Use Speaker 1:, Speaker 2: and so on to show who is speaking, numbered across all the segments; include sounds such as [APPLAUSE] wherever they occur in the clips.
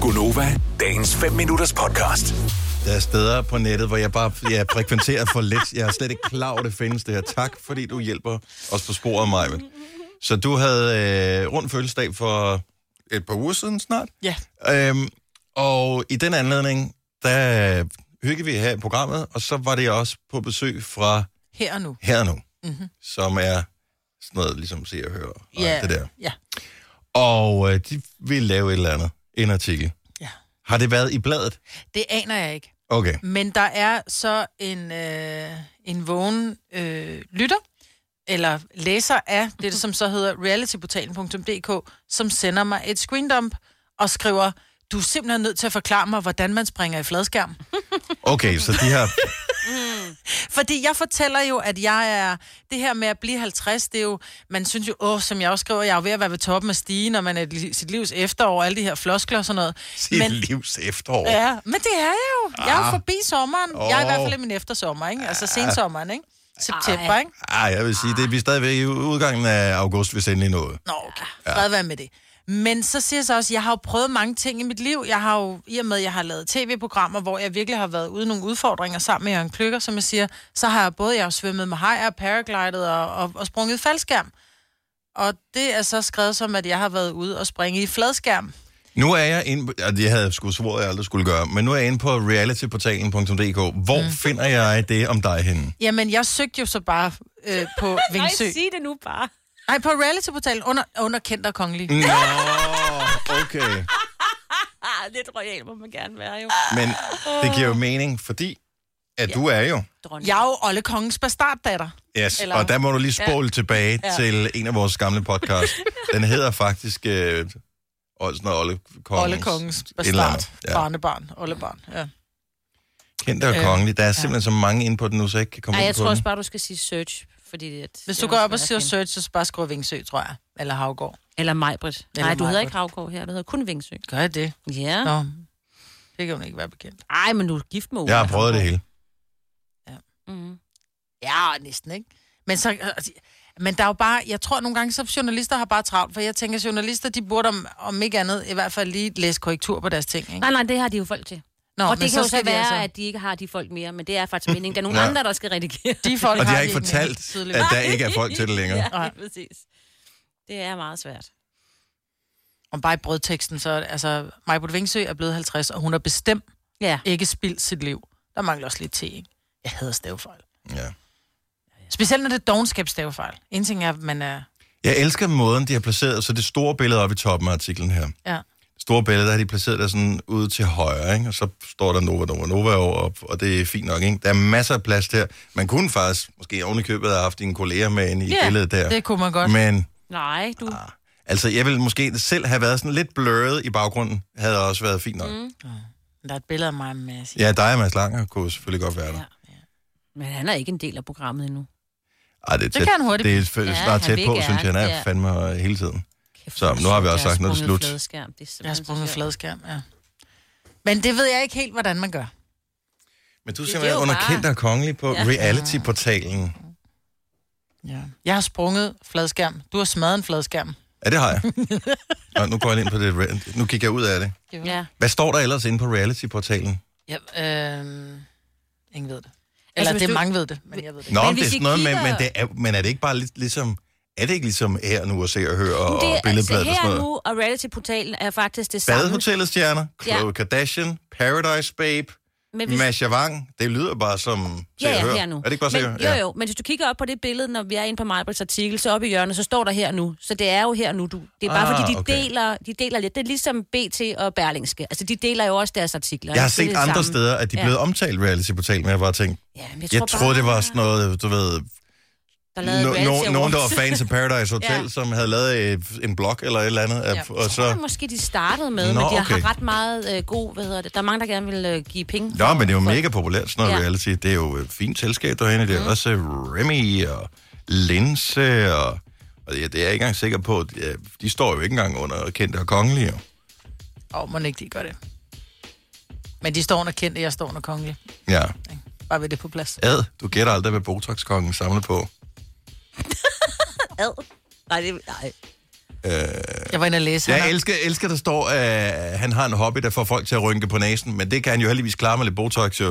Speaker 1: Gunova, dagens 5 minutters podcast.
Speaker 2: Der er steder på nettet, hvor jeg bare jeg frekventerer for lidt. Jeg er slet ikke klar over, at det findes det her. Tak, fordi du hjælper os på sporet, Maja. Så du havde øh, rundt fødselsdag for et par uger siden snart.
Speaker 3: Ja.
Speaker 2: Øhm, og i den anledning, der hyggede vi her i programmet, og så var det også på besøg fra
Speaker 3: Her og nu.
Speaker 2: Her og Nu, mm-hmm. som er sådan noget, ligesom se og høre og alt det der.
Speaker 3: Ja.
Speaker 2: Og øh, de ville lave et eller andet, en artikel.
Speaker 3: ja.
Speaker 2: Har det været i bladet?
Speaker 3: Det aner jeg ikke.
Speaker 2: Okay.
Speaker 3: Men der er så en, øh, en vågen øh, lytter, eller læser af det, som så hedder realityportalen.dk, som sender mig et screendump og skriver, du er simpelthen nødt til at forklare mig, hvordan man springer i
Speaker 2: [LAUGHS]
Speaker 3: fladskærm.
Speaker 2: Okay, så de har...
Speaker 3: Fordi jeg fortæller jo, at jeg er... Det her med at blive 50, det er jo... Man synes jo, åh, som jeg også skriver, jeg er jo ved at være ved toppen af stigen, og man er i sit livs efterår, alle de her floskler og sådan noget.
Speaker 2: Sit men, livs efterår. Ja.
Speaker 3: Ja, men det er jeg jo. Jeg er jo forbi sommeren. Jeg er i
Speaker 2: Åh.
Speaker 3: hvert fald i min eftersommer, ikke? Altså sensommeren, ikke? September, ikke?
Speaker 2: Ej, Ah, jeg vil sige, det er vi stadigvæk i udgangen af august, hvis endelig noget.
Speaker 3: Nå, okay. Fred være med det. Men så siger jeg så også, at jeg har jo prøvet mange ting i mit liv. Jeg har jo, i og med, at jeg har lavet tv-programmer, hvor jeg virkelig har været ude i nogle udfordringer sammen med Jørgen Kløkker, som jeg siger, så har jeg både jeg har jo svømmet med hajer, paraglidet og, og, og sprunget i faldskærm. Og det er så skrevet som, at jeg har været ude og springe i fladskærm.
Speaker 2: Nu er jeg inde på, og det havde jeg sgu svoret, jeg aldrig skulle gøre, men nu er jeg inde på realityportalen.dk. Hvor mm. finder jeg det om dig henne?
Speaker 3: Jamen, jeg søgte jo så bare øh, på Vingsø.
Speaker 4: [LAUGHS] Nej, sig det nu bare. [LAUGHS]
Speaker 3: Nej, på realityportalen under, under kendt og kongelig.
Speaker 2: Nå, okay.
Speaker 4: Ah, lidt royal må man gerne være jo.
Speaker 2: Men det giver jo mening, fordi at ja. du er jo.
Speaker 4: Dronning.
Speaker 3: Jeg er jo Olle Kongens bastarddatter.
Speaker 2: Yes, Eller...
Speaker 3: Eller-
Speaker 2: og der må du lige spole ja. tilbage ja. til en af vores gamle podcast. Den hedder faktisk... Øh, og sådan noget Olle Kongens.
Speaker 3: Olle Kongens
Speaker 2: et eller andet.
Speaker 3: bastard. Ja. Barnebarn. Ollebarn. Ja.
Speaker 2: Kendte og
Speaker 3: Øh,
Speaker 2: kongelig. Der er simpelthen så mange inde på den nu, så jeg ikke kan komme
Speaker 4: Ej,
Speaker 2: ind
Speaker 4: jeg
Speaker 2: på
Speaker 4: tror
Speaker 2: den.
Speaker 4: også bare, du skal sige search. Fordi det, at
Speaker 3: Hvis
Speaker 4: det
Speaker 3: du
Speaker 4: er
Speaker 3: går
Speaker 4: også
Speaker 3: op og
Speaker 4: svært at
Speaker 3: siger
Speaker 4: finde.
Speaker 3: search, så skal du bare skrive Vingsø, tror jeg. Eller Havgård.
Speaker 4: Eller Majbrit.
Speaker 3: Eller
Speaker 4: Nej, du hedder
Speaker 3: Maj-Brit.
Speaker 4: ikke Havgård her, du hedder kun Vingsø.
Speaker 3: Gør jeg det?
Speaker 4: Ja.
Speaker 3: Nå. Det kan hun ikke være bekendt.
Speaker 4: Ej, men du er gift med Ola
Speaker 2: Jeg har prøvet det hele.
Speaker 4: Mm.
Speaker 3: Ja, næsten ikke. Men, så, altså, men der er jo bare, jeg tror nogle gange, så journalister har bare travlt, for jeg tænker, at journalister, de burde om, om ikke andet, i hvert fald lige læse korrektur på deres ting, ikke?
Speaker 4: Nej, nej, det har de jo folk til.
Speaker 3: Nå,
Speaker 4: og
Speaker 3: men
Speaker 4: det kan jo så
Speaker 3: skal de altså-
Speaker 4: være, at de ikke har de folk mere, men det
Speaker 3: [LAUGHS]
Speaker 4: er faktisk meningen. Der er nogle
Speaker 2: Ja.
Speaker 4: andre, der skal redigere.
Speaker 3: de folk
Speaker 2: Og de har
Speaker 3: vi
Speaker 2: ikke fortalt,
Speaker 3: tydeligvis.
Speaker 2: at der ikke er folk til det længere.
Speaker 4: [LAUGHS] ja,
Speaker 3: Nej.
Speaker 4: lige præcis. Det er meget svært.
Speaker 3: Om bare i brødteksten, så altså, Majbrit Vingsø er blevet 50, og hun har bestemt
Speaker 4: Ja.
Speaker 3: ikke spildt sit liv. Der mangler også lidt te, ikke? Jeg hader stavefejl.
Speaker 2: Ja.
Speaker 3: Specielt når det er dogenskabsstavefejl. En ting er, at man er...
Speaker 2: Jeg elsker måden, de har placeret, så det store billede oppe i toppen af artiklen her.
Speaker 3: Ja.
Speaker 2: Det store billede, der har de placeret der sådan ude til højre, ikke? og så står der Nova, Nova, Nova over, og det er fint nok. Ikke? Der er masser af plads der. Man kunne faktisk, måske oven i købet, have haft dine kolleger med ind i
Speaker 3: Ja,
Speaker 2: billedet der.
Speaker 3: Det kunne man godt.
Speaker 2: Men
Speaker 4: Nej, du...
Speaker 2: altså, jeg ville måske selv have været sådan lidt blurret i baggrunden, havde også været fint nok. Mm.
Speaker 3: Der er et billede af mig med... Ja.
Speaker 2: Ja, dig og Mads Langer kunne selvfølgelig godt være der.
Speaker 4: Ja. Men han er ikke en del af programmet endnu.
Speaker 2: Ej, det, er tæt,
Speaker 3: kan han hurtigt
Speaker 2: Det er f-
Speaker 4: Ja,
Speaker 2: snart
Speaker 4: han
Speaker 2: tæt
Speaker 4: vil
Speaker 2: på,
Speaker 4: gerne,
Speaker 2: synes jeg, han er
Speaker 4: ja.
Speaker 2: fandme øh, hele tiden.
Speaker 4: Kæft,
Speaker 2: Så,
Speaker 4: hvor
Speaker 2: nu har vi
Speaker 4: sjovt,
Speaker 2: også
Speaker 4: jeg
Speaker 2: sagt, nu er det
Speaker 4: sprunget
Speaker 2: slut.
Speaker 4: Fladskærm. Det er
Speaker 3: Jeg har sprunget
Speaker 4: fladskærm.
Speaker 3: fladskærm, ja. Men det ved jeg ikke helt, hvordan man gør.
Speaker 2: Men du er
Speaker 4: Det-
Speaker 2: simpelthen
Speaker 4: det er jo
Speaker 2: underkendt
Speaker 4: bare-
Speaker 2: og kongelig på
Speaker 4: Ja.
Speaker 2: reality-portalen.
Speaker 3: Ja. Jeg har sprunget fladskærm. Du har smadret en fladskærm.
Speaker 2: Ja, det har jeg. Nå, nu går jeg lige ind på det. re- Nu kigger jeg ud af det.
Speaker 4: Ja.
Speaker 2: Hvad står der ellers inde på reality-portalen?
Speaker 3: Ja, øh... Ingen ved det. Eller
Speaker 4: Altså,
Speaker 3: altså,
Speaker 4: hvis
Speaker 3: det er
Speaker 4: du-
Speaker 3: mange ved det, men jeg ved det ikke.
Speaker 2: Nå,
Speaker 4: Men
Speaker 2: men det
Speaker 4: hvis
Speaker 2: er sådan
Speaker 4: I
Speaker 2: noget, men,
Speaker 4: kigger-
Speaker 2: men, det er, men er det ikke bare lidt ligesom... Er det ikke ligesom her nu at se og høre og, og
Speaker 4: Det er, altså,
Speaker 2: billedbladet og
Speaker 4: her
Speaker 2: sådan
Speaker 4: nu
Speaker 2: noget?
Speaker 4: og reality-portalen er faktisk det samme.
Speaker 2: Badehotellets stjerner, Khloe
Speaker 4: Ja.
Speaker 2: Kardashian, Paradise Babe,
Speaker 4: Men hvis-
Speaker 2: Masha Wang. Det lyder bare som se
Speaker 4: Ja,
Speaker 2: og høre.
Speaker 4: ja, her nu.
Speaker 2: Er det ikke bare se og
Speaker 4: men,
Speaker 2: høre?
Speaker 4: Jo, jo, men hvis du kigger op på det billede, når vi er inde på Majbrits artikel, så oppe i hjørnet, så står der her nu. Så det er jo her nu. Du. Det er bare
Speaker 2: Ah,
Speaker 4: ah, fordi, de,
Speaker 2: okay.
Speaker 4: okay. deler, de deler lidt. Det er ligesom BT og Berlingske. Altså, de deler jo også deres artikler.
Speaker 2: Jeg har
Speaker 4: ikke? Så det
Speaker 2: set
Speaker 4: er det
Speaker 2: andre
Speaker 4: samme.
Speaker 2: steder, at de er
Speaker 4: Ja.
Speaker 2: blevet omtalt reality-portalen, men jeg har bare tænkt,
Speaker 4: Ja, men jeg,
Speaker 2: jeg troede, det var sådan noget, du ved,
Speaker 4: der lavede
Speaker 2: No,
Speaker 4: reality
Speaker 2: no, nogen, der var
Speaker 4: awards.
Speaker 2: fans af Paradise Hotel, [LAUGHS] ja.
Speaker 4: Ja.
Speaker 2: som havde lavet øh, en blog eller et eller andet. Ja.
Speaker 3: Ja.
Speaker 2: Og
Speaker 4: Det
Speaker 2: så...
Speaker 4: var Måske de startede med,
Speaker 2: Nå,
Speaker 4: Nå, men de
Speaker 2: okay.
Speaker 4: har ret meget øh, god, hvad hedder det, der er mange, der gerne vil øh, give penge.
Speaker 2: Nå,
Speaker 4: for-
Speaker 2: men det er jo
Speaker 4: for-
Speaker 2: mega populært, sådan noget ja.
Speaker 4: Ja.
Speaker 2: reality. Det er jo et fint selskab derhenne. Det er mm. også øh, Remy og Linse og... Og det, det er jeg ikke engang sikker på. De, er- de står jo ikke engang under kendte og kongelige. jo.
Speaker 3: Åh, oh, må ikke de gør det. Men de står under kendte, jeg står under kongelig.
Speaker 2: Ja.
Speaker 3: ikke? Bare ved det på plads.
Speaker 2: Ad, du gætter aldrig, hvad Botox-kongen samler på.
Speaker 4: Ad. Nej, det, nej.
Speaker 2: Øh,
Speaker 3: Jeg var inde og læse.
Speaker 2: jeg
Speaker 3: han er-
Speaker 2: elsker, elsker, der står, at han har en hobby, der får folk til at rynke på næsen, men det kan han jo heldigvis klare med lidt Botox. Jo.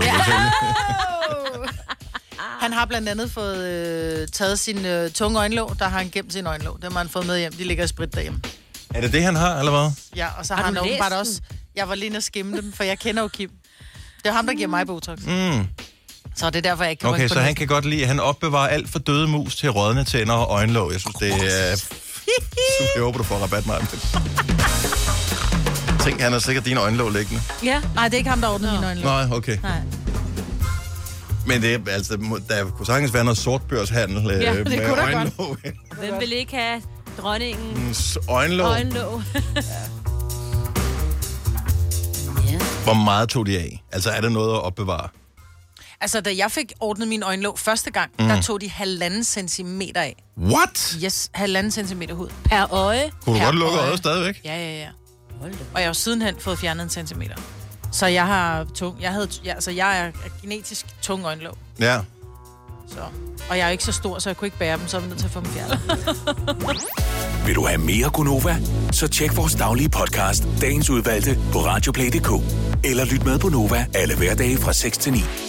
Speaker 3: Han har blandt andet fået øh, taget sin øh, tunge øjenlåg, der har han gemt sin øjenlåg. Dem har han fået med hjem. De ligger i sprit derhjemme.
Speaker 2: Er det det, han har, eller hvad?
Speaker 3: Ja, og så har,
Speaker 4: Har
Speaker 3: har han
Speaker 4: du læst
Speaker 3: åbenbart
Speaker 4: den?
Speaker 3: også... Jeg var lige inde og skimme dem, for jeg kender jo Kim. Det er ham, der giver mig Botox.
Speaker 2: Mm.
Speaker 3: Så det er derfor, jeg ikke kan
Speaker 2: Okay,
Speaker 3: rynke på
Speaker 2: så han
Speaker 3: næsen.
Speaker 2: kan godt lide, at han opbevarer alt for døde mus til rådne tænder og øjenlåg. Jeg synes, det er...
Speaker 4: [LAUGHS]
Speaker 2: Jeg håber, du får rabat, mig. Tænk, han har sikkert dine øjenlåg liggende.
Speaker 4: Ja.
Speaker 3: Nej, det er ikke ham, der ordner mine øjenlåg.
Speaker 2: Nej, okay.
Speaker 3: Nej.
Speaker 2: Men det er, altså, må- der kunne sagtens være noget sortbørshandel øh,
Speaker 4: Ja, det
Speaker 2: med
Speaker 4: kunne der
Speaker 2: øjenlåg.
Speaker 4: Hvem vil ikke have dronningen
Speaker 2: øjenlåg.
Speaker 4: øjenlåg?
Speaker 2: Hvor meget tog de af? Altså, er der noget at opbevare?
Speaker 3: Altså, da jeg fik ordnet min øjenlåg første gang, mm. der tog de halvanden centimeter af.
Speaker 2: What?
Speaker 3: Yes, halvanden centimeter hud.
Speaker 4: Per øje.
Speaker 2: Kunne du
Speaker 3: Per
Speaker 2: godt lukke
Speaker 3: øje.
Speaker 2: øjet stadigvæk?
Speaker 3: Ja, ja, ja.
Speaker 4: Hold da.
Speaker 3: Og jeg har jo sidenhen fået fjernet en centimeter. Så jeg har tung... Jeg, havde, ja, altså, jeg er genetisk tung øjenlåg.
Speaker 2: Ja.
Speaker 3: Så. Og jeg er jo ikke så stor, så jeg kunne ikke bære dem, så er vi nødt til at få dem fjernet.
Speaker 1: Vil du have mere Gunova? Så tjek vores daglige podcast, dagens udvalgte, på radioplay.dk. Eller lyt med på Nova alle hverdage fra 6 til 9.